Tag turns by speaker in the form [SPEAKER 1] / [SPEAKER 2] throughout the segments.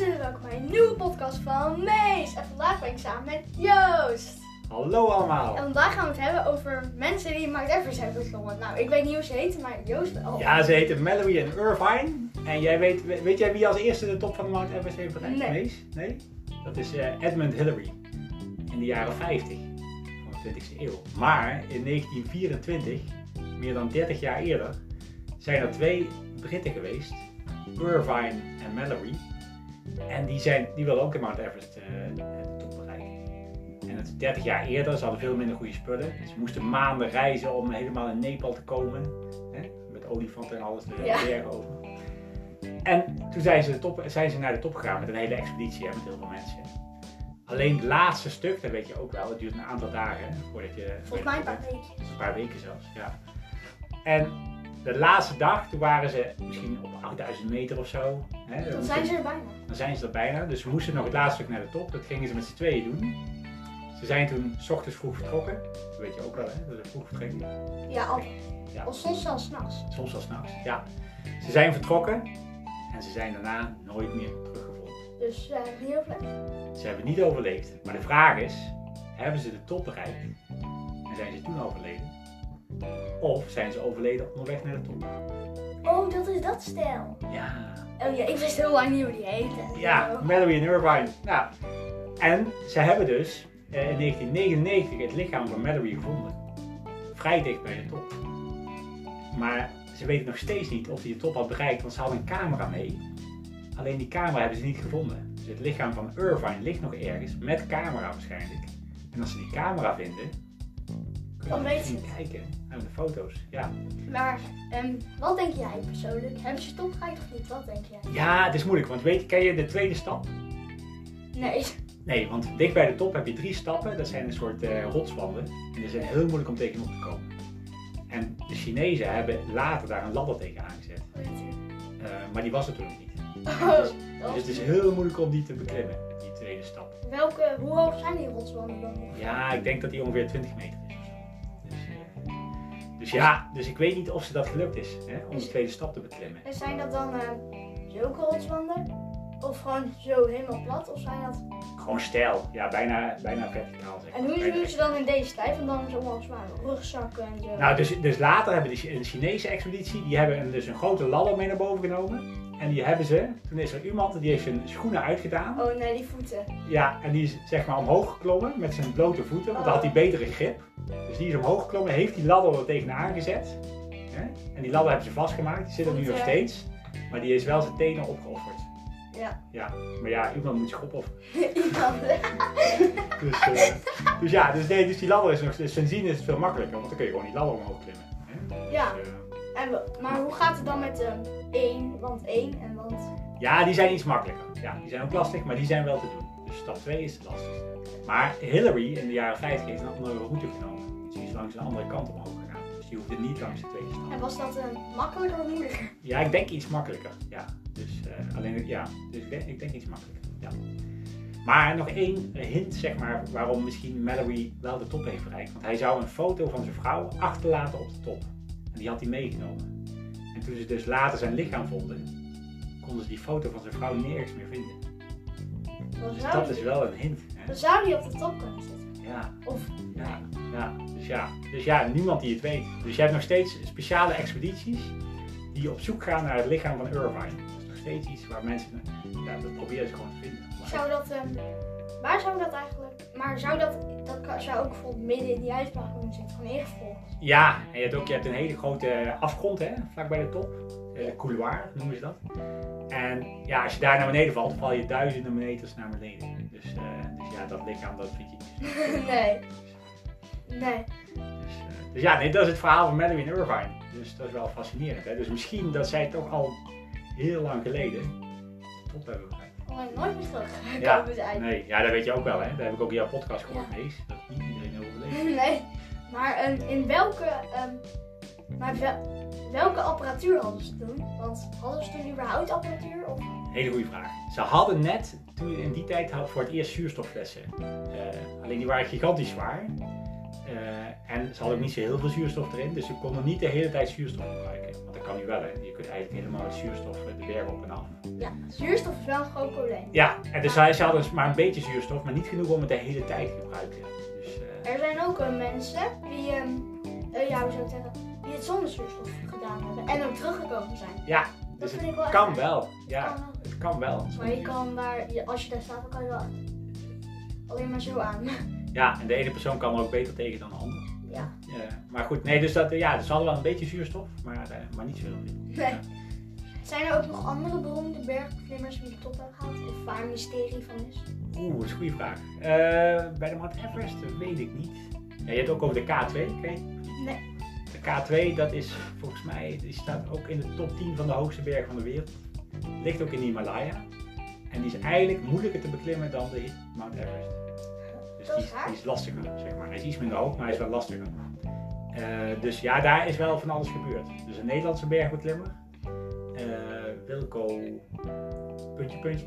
[SPEAKER 1] een nieuwe podcast van Mees. En vandaag ben ik samen met Joost.
[SPEAKER 2] Hallo allemaal.
[SPEAKER 1] En vandaag gaan we het hebben over mensen die Mount Everest hebben gezongen. Nou, ik weet niet hoe ze heten, maar Joost wel.
[SPEAKER 2] Ja, ze heten Mallory en Irvine. En jij weet, weet jij wie als eerste de top van de Mount Everest heeft bereikt?
[SPEAKER 1] Nee.
[SPEAKER 2] Mees? Nee? Dat is eh, Edmund Hillary. In de jaren 50 van de 20e eeuw. Maar in 1924, meer dan 30 jaar eerder, zijn er twee Britten geweest. Irvine en Mallory. En die, zijn, die willen ook de Mount Everest eh, de top bereiken. En het is 30 jaar eerder, ze hadden veel minder goede spullen. Dus Ze moesten maanden reizen om helemaal in Nepal te komen. Hè? Met olifanten en alles de
[SPEAKER 1] Ja.
[SPEAKER 2] bergen over. En toen zijn ze, de top, zijn ze naar de top gegaan met een hele expeditie hè, met heel veel mensen. Alleen het laatste stuk, dat weet je ook wel, het duurt een aantal dagen voordat je...
[SPEAKER 1] Volgens mij een paar weken.
[SPEAKER 2] Dus Een paar weken zelfs, ja. En de laatste dag, toen waren ze misschien op 8000 meter of zo. Hè?
[SPEAKER 1] Dan zijn ze er bijna.
[SPEAKER 2] Dan zijn ze er bijna. Dus ze moesten nog het laatste stuk naar de top. Dat gingen ze met z'n tweeën doen. Ze zijn toen 's ochtends vroeg vertrokken. Dat weet je ook wel, hè? Dat is vroeg vertrekken.
[SPEAKER 1] Ja, al,
[SPEAKER 2] Ja.
[SPEAKER 1] al soms zelfs s'nachts.
[SPEAKER 2] Soms wel s'nachts. Ja. Ze zijn vertrokken en ze zijn daarna nooit meer teruggevonden.
[SPEAKER 1] Dus eh, niet heel veel.
[SPEAKER 2] Ze hebben niet overleefd. Maar de vraag is: hebben ze de top bereikt? En zijn ze toen overleden? Of zijn ze overleden onderweg naar de top?
[SPEAKER 1] Oh, dat is dat stijl.
[SPEAKER 2] Ja.
[SPEAKER 1] Oh ja, ik wist heel lang niet hoe die heette.
[SPEAKER 2] Ja,
[SPEAKER 1] Oh.
[SPEAKER 2] Mallory en Irvine. Nou, en ze hebben dus eh, in 1999 het lichaam van Mallory gevonden. Vrij dicht bij de top. Maar ze weten nog steeds niet of hij de top had bereikt, want ze hadden een camera mee. Alleen die camera hebben ze niet gevonden. Dus het lichaam van Irvine ligt nog ergens, met camera waarschijnlijk. En als ze die camera vinden,
[SPEAKER 1] Dan
[SPEAKER 2] kunnen ze
[SPEAKER 1] weten ze
[SPEAKER 2] misschien kijken naar de foto's. Ja.
[SPEAKER 1] Maar ehm, wat denk jij persoonlijk? Hebben ze top gehaald of niet? Wat denk jij?
[SPEAKER 2] ja, het is moeilijk, want weet, ken je de tweede stap?
[SPEAKER 1] Nee.
[SPEAKER 2] Nee, want dicht bij de top heb je drie stappen. Dat zijn een soort eh rotswanden. En die zijn heel moeilijk om tegenop te komen. En de Chinezen hebben later daar een ladder tegen aangezet. Eh, maar die was er toen nog niet.
[SPEAKER 1] Oh,
[SPEAKER 2] Dus
[SPEAKER 1] dat
[SPEAKER 2] het is
[SPEAKER 1] is...
[SPEAKER 2] heel moeilijk om die te beklimmen, die tweede stap.
[SPEAKER 1] Welke, hoe hoog zijn die rotswanden dan nog?
[SPEAKER 2] Ja, ik denk dat die ongeveer 20 meter is. of zo. Dus, eh, dus ja, dus ik weet niet of ze dat gelukt is hè, om de tweede stap te beklimmen.
[SPEAKER 1] En zijn dat dan eh, zulke rotswanden? Of gewoon zo helemaal plat? Of zijn dat...
[SPEAKER 2] Gewoon stijl, ja, bijna, bijna verticaal zeg maar.
[SPEAKER 1] En hoe
[SPEAKER 2] Bijna
[SPEAKER 1] doen ze dan in deze tijd? Want dan is het allemaal zwaar. Rugzakken en zo.
[SPEAKER 2] Nou, dus, dus later hebben de, Chi- een Chinese expeditie, die hebben een, dus een grote ladder mee naar boven genomen. En die hebben ze, toen is er iemand die heeft zijn schoenen uitgedaan.
[SPEAKER 1] Oh nee, die voeten.
[SPEAKER 2] Ja, en die is zeg maar omhoog geklommen met zijn blote voeten, want dan had hij betere grip. Dus die is omhoog geklommen, heeft die ladder er tegenaan gezet. Hè? En die ladder hebben ze vastgemaakt, die zit er nu nog
[SPEAKER 1] Goed, hè?
[SPEAKER 2] steeds. Maar die is wel zijn tenen opgeofferd.
[SPEAKER 1] Ja.
[SPEAKER 2] Ja, maar ja, iemand moet zich opofferen.
[SPEAKER 1] Iemand.
[SPEAKER 2] Dus, eh, dus ja, dus, nee, dus die ladder is nog, dus zijn zien is het veel makkelijker, want dan kun je gewoon die ladder omhoog klimmen. Hè?
[SPEAKER 1] ja.
[SPEAKER 2] Dus, eh,
[SPEAKER 1] En, we- maar hoe gaat het dan met de 1, want 1 en want...
[SPEAKER 2] Ja, die zijn iets makkelijker. Ja, die zijn ook lastig, maar die zijn wel te doen. Dus stap 2 is het lastigste. Maar Hillary in de jaren 50 heeft een andere route genomen. Dus die is langs een andere kant omhoog gegaan. Dus die hoefde niet langs de tweede
[SPEAKER 1] En
[SPEAKER 2] stap.
[SPEAKER 1] was dat eh, makkelijker of moeilijker?
[SPEAKER 2] Ja, ik denk iets makkelijker. Ja, dus, eh, alleen, ja, dus ik, denk, ik denk iets makkelijker. Ja. Maar nog één hint, zeg maar, waarom misschien Mallory wel de top heeft bereikt. Want hij zou een foto van zijn vrouw achterlaten op de top. En die had hij meegenomen. En toen ze dus later zijn lichaam vonden, konden ze die foto van zijn vrouw nergens meer vinden.
[SPEAKER 1] Dan
[SPEAKER 2] Dus
[SPEAKER 1] zou,
[SPEAKER 2] dat
[SPEAKER 1] die,
[SPEAKER 2] is wel een hint. Hè?
[SPEAKER 1] dan zou die op de top kunnen zitten.
[SPEAKER 2] Ja,
[SPEAKER 1] Of...
[SPEAKER 2] ja, ja. Dus ja. Dus ja, niemand die het weet. Dus je hebt nog steeds speciale expedities die op zoek gaan naar het lichaam van Irvine. Dat is nog steeds iets waar mensen, ja, dat proberen ze gewoon te vinden. Maar-
[SPEAKER 1] Zou dat, ehm, waar zou dat eigenlijk, maar zou dat, dat kan- zou ook bijvoorbeeld midden in die ijsbaan kunnen zitten, gewoon ingevroren?
[SPEAKER 2] Ja, en je hebt ook je hebt een hele grote afgrond hè, vlakbij de top. Eh couloir noemen ze dat. En ja, als je daar naar beneden valt, val je duizenden meters naar beneden. Dus, eh, dus ja, dat lichaam, dat vind je niet.
[SPEAKER 1] nee. Nee.
[SPEAKER 2] Dus, eh, dus ja, nee, dat is het verhaal van Madeline Irvine. Dus dat is wel fascinerend. Hè? Dus misschien dat zij toch al heel lang geleden top hebben bereikt.
[SPEAKER 1] Alleen nooit meer terug
[SPEAKER 2] Ja,
[SPEAKER 1] komen zijn.
[SPEAKER 2] Nee, ja, dat weet je ook wel. Hè? Daar heb ik ook in jouw podcast gehoord, Mees. Dat niet iedereen overleeft.
[SPEAKER 1] Nee. Maar ehm, in welke, ehm, maar wel, welke apparatuur hadden ze toen? Want hadden ze toen überhaupt apparatuur? Of...
[SPEAKER 2] Hele goede vraag. Ze hadden net, toen in die tijd, hadden voor het eerst zuurstofflessen. Eh, alleen die waren gigantisch zwaar. Eh, en ze hadden ook niet zo heel veel zuurstof erin. Dus ze konden niet de hele tijd zuurstof gebruiken. Want dan kan nu wel, hè. Je kunt eigenlijk helemaal met zuurstof eh, de berg op en af.
[SPEAKER 1] Ja, zuurstof is wel een groot probleem.
[SPEAKER 2] Ja, en dus hij had dus maar een beetje zuurstof, maar niet genoeg om het de hele tijd te gebruiken. Dus, eh,
[SPEAKER 1] Er zijn ook eh, mensen die, ehm, eh, ja, hoe zou ik zeggen, die het zonder zuurstof gedaan hebben en ook teruggekomen zijn.
[SPEAKER 2] ja,
[SPEAKER 1] Dat
[SPEAKER 2] dus
[SPEAKER 1] vind
[SPEAKER 2] het
[SPEAKER 1] ik wel
[SPEAKER 2] kan
[SPEAKER 1] erg.
[SPEAKER 2] wel. Ja,
[SPEAKER 1] Kan wel.
[SPEAKER 2] het kan wel.
[SPEAKER 1] Maar je kan daar, je- als je daar staat, dan kan je wel alleen maar zo aan.
[SPEAKER 2] Ja, en de ene persoon kan er ook beter tegen dan de ander.
[SPEAKER 1] Ja.
[SPEAKER 2] Eh, maar goed, nee, dus dat, eh, ja, dus ze hadden wel een beetje zuurstof, maar, eh, maar niet zo heel veel.
[SPEAKER 1] Nee. Zijn er ook nog andere beroemde bergklimmers die de top hebben gehaald? Of waar een mysterie van is?
[SPEAKER 2] Oeh, dat is een goede vraag. Eh, bij de Mount Everest eh, weet ik niet. Ja, je hebt ook over de K2, oké?
[SPEAKER 1] Nee.
[SPEAKER 2] De K2, dat is volgens mij, die staat ook in de top 10 van de hoogste berg van de wereld. Ligt ook in de Himalaya. En die is eigenlijk moeilijker te beklimmen dan de Mount Everest. Dus
[SPEAKER 1] Dat
[SPEAKER 2] die
[SPEAKER 1] is
[SPEAKER 2] is,
[SPEAKER 1] raar.
[SPEAKER 2] die is lastiger, zeg maar. Hij is iets minder hoog, maar hij is wel lastiger. Eh, dus ja, daar is wel van alles gebeurd. Dus een Nederlandse bergbeklimmer. eh, Wilco... Puntje, puntje.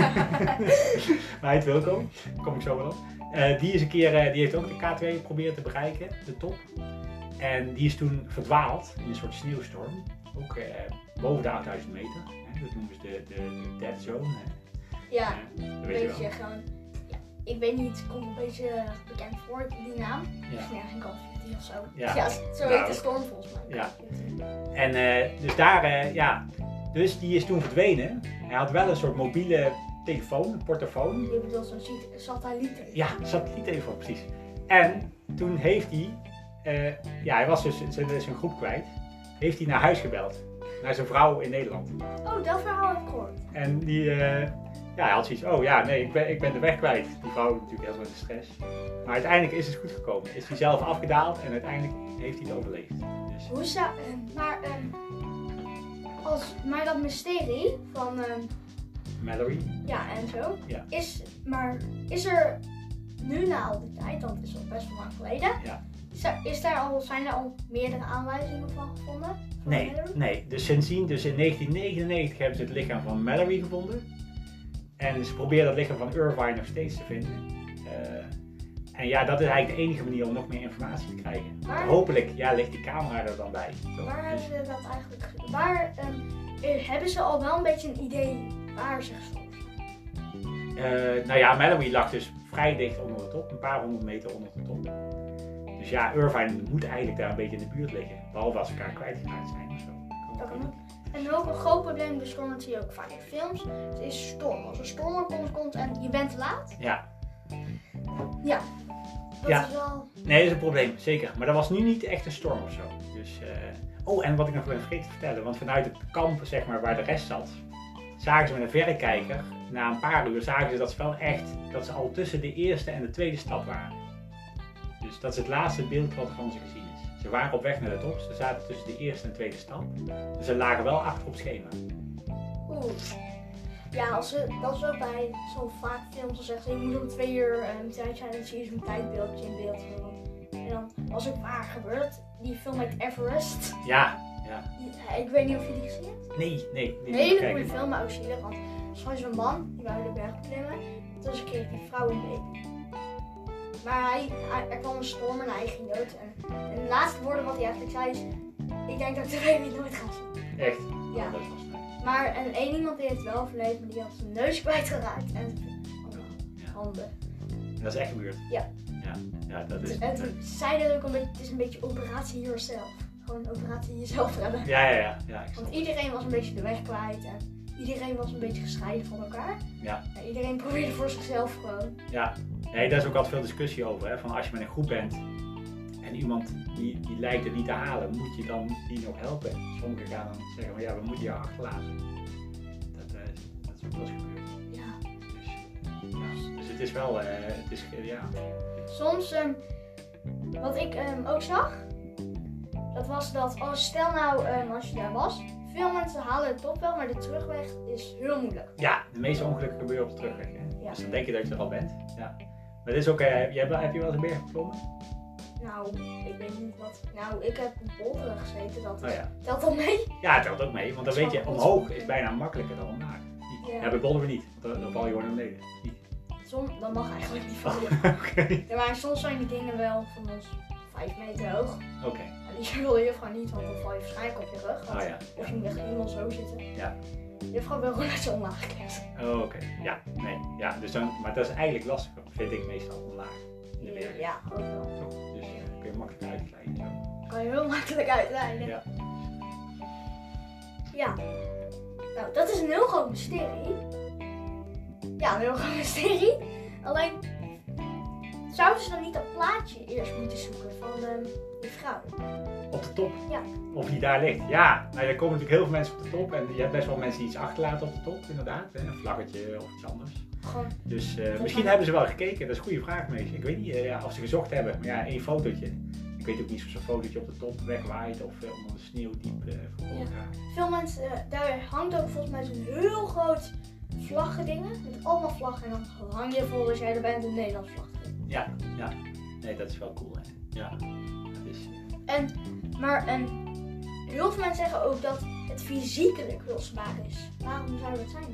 [SPEAKER 2] maar hij heet Wilco. Daar kom ik zo wel op. Eh, die, is een keer, eh, die heeft ook de K2 geprobeerd te bereiken, de top. En die is toen verdwaald in een soort sneeuwstorm. Ook eh, boven de 8000 meter. Hè? Dat noemen ze de, de, de dead zone. Hè?
[SPEAKER 1] Ja,
[SPEAKER 2] Eh, dat
[SPEAKER 1] een
[SPEAKER 2] weet je wel.
[SPEAKER 1] beetje gewoon. Ja, ik weet niet, het komt een beetje bekend voor, die naam.
[SPEAKER 2] Ja.
[SPEAKER 1] Of nee, eigenlijk al 50 of zo.
[SPEAKER 2] Ja.
[SPEAKER 1] Ja, zo
[SPEAKER 2] Nou,
[SPEAKER 1] heet de storm volgens mij.
[SPEAKER 2] ja. En eh, dus daar, eh, ja. Dus die is toen verdwenen. Hij had wel een soort mobiele telefoon, een portofoon.
[SPEAKER 1] Je bedoelt zo'n ziet- satelliet.
[SPEAKER 2] Ja, satelliettelefoon, precies. En toen heeft hij, eh, ja, hij was dus zijn, zijn groep kwijt. Heeft hij naar huis gebeld. Naar zijn vrouw in Nederland.
[SPEAKER 1] Oh, dat verhaal heb ik gehoord.
[SPEAKER 2] En die, eh, ja, hij had zoiets, oh ja, nee, ik ben, ik ben de weg kwijt. Die vrouw natuurlijk helemaal in de stress. Maar uiteindelijk is het goed gekomen. Is hij zelf afgedaald en uiteindelijk heeft hij het overleefd. Dus,
[SPEAKER 1] Hoe zou. eh, Maar, ehm, als, maar dat mysterie van. ehm,
[SPEAKER 2] Mallory.
[SPEAKER 1] ja, en zo.
[SPEAKER 2] Ja.
[SPEAKER 1] Is, maar is er nu na al die tijd, want het is al best wel lang geleden.
[SPEAKER 2] Ja.
[SPEAKER 1] Is er, is daar al, zijn er al meerdere aanwijzingen van gevonden? Van
[SPEAKER 2] Nee,
[SPEAKER 1] Mallory?
[SPEAKER 2] nee. Dus sindsdien, dus in 1999 hebben ze het lichaam van Mallory gevonden. En ze proberen dat lichaam van Irvine nog steeds te vinden. Eh, en ja, dat is eigenlijk de enige manier om nog meer informatie te krijgen. Want
[SPEAKER 1] Waar-
[SPEAKER 2] Hopelijk ja, ligt die camera er dan bij. toch?
[SPEAKER 1] Waar
[SPEAKER 2] Dus-
[SPEAKER 1] hebben ze dat eigenlijk. ge- Waar ehm, eh, hebben ze al wel een beetje een idee waar ze gestopt
[SPEAKER 2] Eh, nou ja, Mallory lag dus vrij dicht onder de top, een paar honderd meter onder de top. Dus ja, Irvine moet eigenlijk daar een beetje in de buurt liggen. Behalve als ze elkaar kwijtgeraakt zijn of zo.
[SPEAKER 1] Dat moet. En ook een groot probleem bij stormen, dat zie je ook vaak in films, het is storm. Als een storm op ons komt en je bent te laat,
[SPEAKER 2] Ja,
[SPEAKER 1] dat
[SPEAKER 2] Ja.
[SPEAKER 1] is wel...
[SPEAKER 2] nee, dat is een probleem, zeker. Maar dat was nu niet echt een storm of zo. Dus, eh, Oh, en wat ik nog ben vergeten te vertellen, want vanuit het kamp zeg maar, waar de rest zat, zagen ze met een verrekijker, na een paar uur zagen ze dat ze wel echt, dat ze al tussen de eerste en de tweede stap waren. Dus dat is het laatste beeld wat van ze gezien is. Ze waren op weg naar de top, ze zaten tussen de eerste en tweede stap. Dus ze lagen wel achter op schema.
[SPEAKER 1] Oeh. Ja, als ze, dat is ook bij zo vaak films, dan zeggen ze, je moet om twee uur ehm tijd zijn, dan zie je zo'n tijdbeeldje in beeld. En dan, als het waar gebeurt, die film heet Everest.
[SPEAKER 2] Ja,
[SPEAKER 1] Die- eh, Ik weet niet of je die gezien hebt.
[SPEAKER 2] nee, nee.
[SPEAKER 1] Een
[SPEAKER 2] nee
[SPEAKER 1] hele goede film, maar ook zielig, want het is gewoon zo'n man die wou de berg klimmen. Toen kreeg hij een vrouw in mee. Maar hij, hij- er kwam een storm en hij ging dood. En, en de laatste woorden wat hij eigenlijk zei is, ik denk dat ik de baby nooit ga zien.
[SPEAKER 2] Echt. Oh,
[SPEAKER 1] Ja.
[SPEAKER 2] Dat was leuk.
[SPEAKER 1] Maar en één iemand die heeft wel overleefd, maar die had zijn neus kwijtgeraakt en
[SPEAKER 2] Ja.
[SPEAKER 1] zijn handen.
[SPEAKER 2] Dat is echt gebeurd.
[SPEAKER 1] Ja.
[SPEAKER 2] Ja, ja dat is.
[SPEAKER 1] En toen zei dat ook een beetje, het is een beetje operatie yourself. Gewoon operatie jezelf redden.
[SPEAKER 2] Ja, ja, ja. ja ik snap
[SPEAKER 1] Want
[SPEAKER 2] het.
[SPEAKER 1] iedereen was een beetje de weg kwijt en iedereen was een beetje gescheiden van elkaar.
[SPEAKER 2] Ja.
[SPEAKER 1] En iedereen probeerde voor zichzelf gewoon.
[SPEAKER 2] Ja, nee, daar is ook altijd veel discussie over. Hè? Van als je met een groep bent en iemand die, die lijkt het niet te halen, moet je dan die nog helpen? Sommigen gaan dan zeggen van ja, we moeten jou achterlaten. Dat, eh, dat is ook wel eens gebeurd.
[SPEAKER 1] Ja.
[SPEAKER 2] Dus, ja. dus het is wel, eh, het is, eh, ja.
[SPEAKER 1] Soms, ehm, wat ik ehm, ook zag, dat was dat, als stel nou ehm, als je daar was, veel mensen halen het top wel, maar de terugweg is heel moeilijk.
[SPEAKER 2] ja, de meeste ongelukken gebeuren op de terugweg. Hè?
[SPEAKER 1] Ja.
[SPEAKER 2] Dus dan denk je dat je er al bent. Ja. Maar dit is ook, eh, je hebt, wel- heb je wel eens een berg geklommen?
[SPEAKER 1] Nou, ik weet niet wat. Nou, ik heb op bolderen gezeten, dat
[SPEAKER 2] Nou
[SPEAKER 1] is,
[SPEAKER 2] ja.
[SPEAKER 1] telt al mee.
[SPEAKER 2] ja, het telt ook mee, want dan
[SPEAKER 1] Dat is
[SPEAKER 2] weet je,
[SPEAKER 1] wel goed.
[SPEAKER 2] omhoog is bijna makkelijker dan omlaag. Niet-
[SPEAKER 1] Ja.
[SPEAKER 2] Ja, bij bolderen niet, want dan, dan val je gewoon naar beneden. Niet.
[SPEAKER 1] Som, dat mag eigenlijk niet van.
[SPEAKER 2] Oké.
[SPEAKER 1] Ja, maar soms zijn die dingen wel van ons 5 meter hoog.
[SPEAKER 2] Oké.
[SPEAKER 1] En je wil je gewoon niet, want dan val je waarschijnlijk op je rug. want-
[SPEAKER 2] Ah ja.
[SPEAKER 1] Of je moet echt helemaal zo zitten.
[SPEAKER 2] Ja.
[SPEAKER 1] Je hebt gewoon wel gewoon dat je omlaag kijkt.
[SPEAKER 2] Oh, Oké, ja, nee. Ja, dus dan, maar dat is eigenlijk lastiger, vind ik meestal omlaag in de bergen.
[SPEAKER 1] Ja, ook wel.
[SPEAKER 2] Toch? Dus eh, kun je makkelijk uitkleiden. Zo.
[SPEAKER 1] Kan je heel makkelijk uitleiden.
[SPEAKER 2] Ja.
[SPEAKER 1] Ja. Nou, dat is een heel groot mysterie. Ja, een heel groot mysterie. Alleen, zouden ze dan niet dat plaatje eerst moeten zoeken van ehm, die vrouw?
[SPEAKER 2] Op de top.
[SPEAKER 1] Ja.
[SPEAKER 2] Of die daar ligt. Ja, nou, er komen natuurlijk heel veel mensen op de top. En je hebt best wel mensen die iets achterlaten op de top, inderdaad. hè, Een vlaggetje of iets anders.
[SPEAKER 1] Gewoon,
[SPEAKER 2] Dus eh,
[SPEAKER 1] Dat
[SPEAKER 2] misschien
[SPEAKER 1] kan.
[SPEAKER 2] hebben ze wel gekeken. Dat is een goede vraag, mees. Ik weet niet eh, ja, of ze gezocht hebben. Maar ja, één fotootje. Ik weet ook niet of zo'n fotootje op de top wegwaait of eh, onder de sneeuw diep eh verborgen raakt.
[SPEAKER 1] veel mensen, eh, daar hangt ook volgens mij zo'n heel groot vlaggendingen. Met allemaal vlaggen en dan hang je voor als jij er bent een Nederlands vlag.
[SPEAKER 2] Ja, ja. Nee, dat is wel cool, hè. Ja. Dat is,
[SPEAKER 1] En, maar en, heel veel mensen zeggen ook dat het fysiekelijk losbaar is. Waarom zou dat zijn?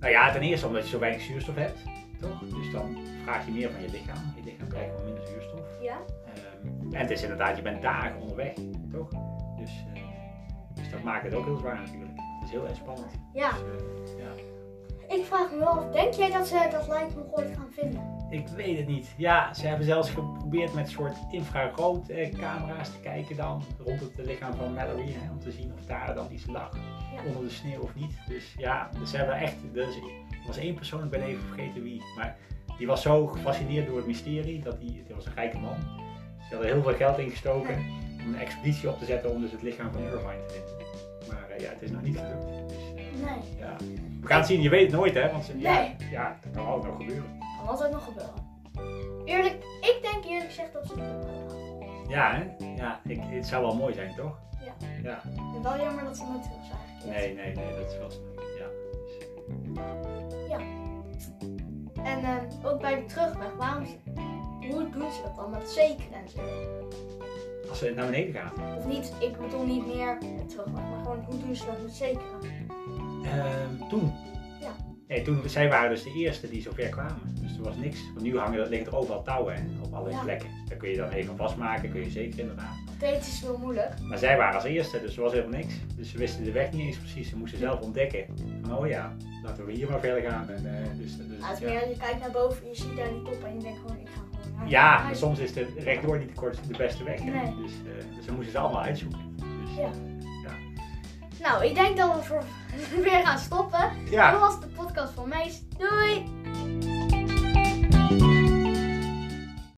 [SPEAKER 2] Nou ja, ten eerste omdat je zo weinig zuurstof hebt, toch? Dus dan vraag je meer van je lichaam. Je lichaam krijgt wel minder zuurstof.
[SPEAKER 1] Ja?
[SPEAKER 2] Ehm, en het is inderdaad, je bent dagen onderweg, toch? Dus, eh, dus dat maakt het ook heel zwaar natuurlijk. Het is heel erg spannend.
[SPEAKER 1] Ja,
[SPEAKER 2] Dus, eh,
[SPEAKER 1] ik vraag me wel af, denk jij dat ze dat lijkboek ooit gaan vinden?
[SPEAKER 2] Ik weet het niet. Ja, ze hebben zelfs geprobeerd met soort infraroodcamera's te kijken dan rond het lichaam van Mallory. Hè, om te zien of daar dan iets lag onder de sneeuw of niet. Dus ja, dus ze hebben echt... Er is- er was één persoon, ik ben even vergeten wie. Maar die was zo gefascineerd door het mysterie. Dat hij, het was een rijke man. Ze hadden heel veel geld ingestoken om een expeditie op te zetten om dus het lichaam van Irvine te vinden. Maar eh, ja, het is nog niet gelukt. Dus, eh,
[SPEAKER 1] Nee,
[SPEAKER 2] ja. We gaan het zien, je weet het nooit hè. Want ze- ja,
[SPEAKER 1] Nee.
[SPEAKER 2] ja, dat kan altijd nog gebeuren.
[SPEAKER 1] kan altijd nog gebeuren. Eerlijk, ik denk eerlijk gezegd dat ze het doen gaan.
[SPEAKER 2] Ja, hè? Ja, ik, het zou wel mooi zijn, toch?
[SPEAKER 1] Ja.
[SPEAKER 2] Ja.
[SPEAKER 1] En wel jammer dat ze nooit terug zijn gekeerd.
[SPEAKER 2] Nee, nee, nee, dat is wel sneu. Ja.
[SPEAKER 1] En ehm, ook bij de terugweg, waarom ze, hoe doen ze dat dan met zeker en zo?
[SPEAKER 2] Als ze naar beneden gaat.
[SPEAKER 1] Of niet, ik bedoel niet meer met terugweg, maar gewoon hoe doen ze dat met zeker?
[SPEAKER 2] Ehm, toen?
[SPEAKER 1] Ja.
[SPEAKER 2] Nee, toen, zij waren dus de eerste die zover kwamen. Dus er was niks. Want nu hangen, ligt er overal touwen hè, op allerlei
[SPEAKER 1] Ja.
[SPEAKER 2] plekken. Daar kun je dan even vastmaken, kun je zeker inderdaad.
[SPEAKER 1] Nog steeds is heel moeilijk.
[SPEAKER 2] Maar zij waren als eerste, dus er was helemaal niks. Dus ze wisten de weg niet eens precies. Ze moesten zelf ontdekken. Van, oh ja, laten we hier maar verder gaan. En, eh, dus, dus,
[SPEAKER 1] Ja, Ah, het is
[SPEAKER 2] ja.
[SPEAKER 1] meer, je kijkt naar boven, en je ziet daar die top en je denkt gewoon, ik ga gewoon naar
[SPEAKER 2] Ja,
[SPEAKER 1] naar-
[SPEAKER 2] maar soms is de rechtdoor niet de kortste, de beste weg. hè.
[SPEAKER 1] Ah, Nee.
[SPEAKER 2] Dus, eh, dus dan moesten ze allemaal uitzoeken. Dus,
[SPEAKER 1] Ja. Nou, ik denk dat we voor weer gaan stoppen.
[SPEAKER 2] ja.
[SPEAKER 1] Dit was de podcast van Mees. Doei!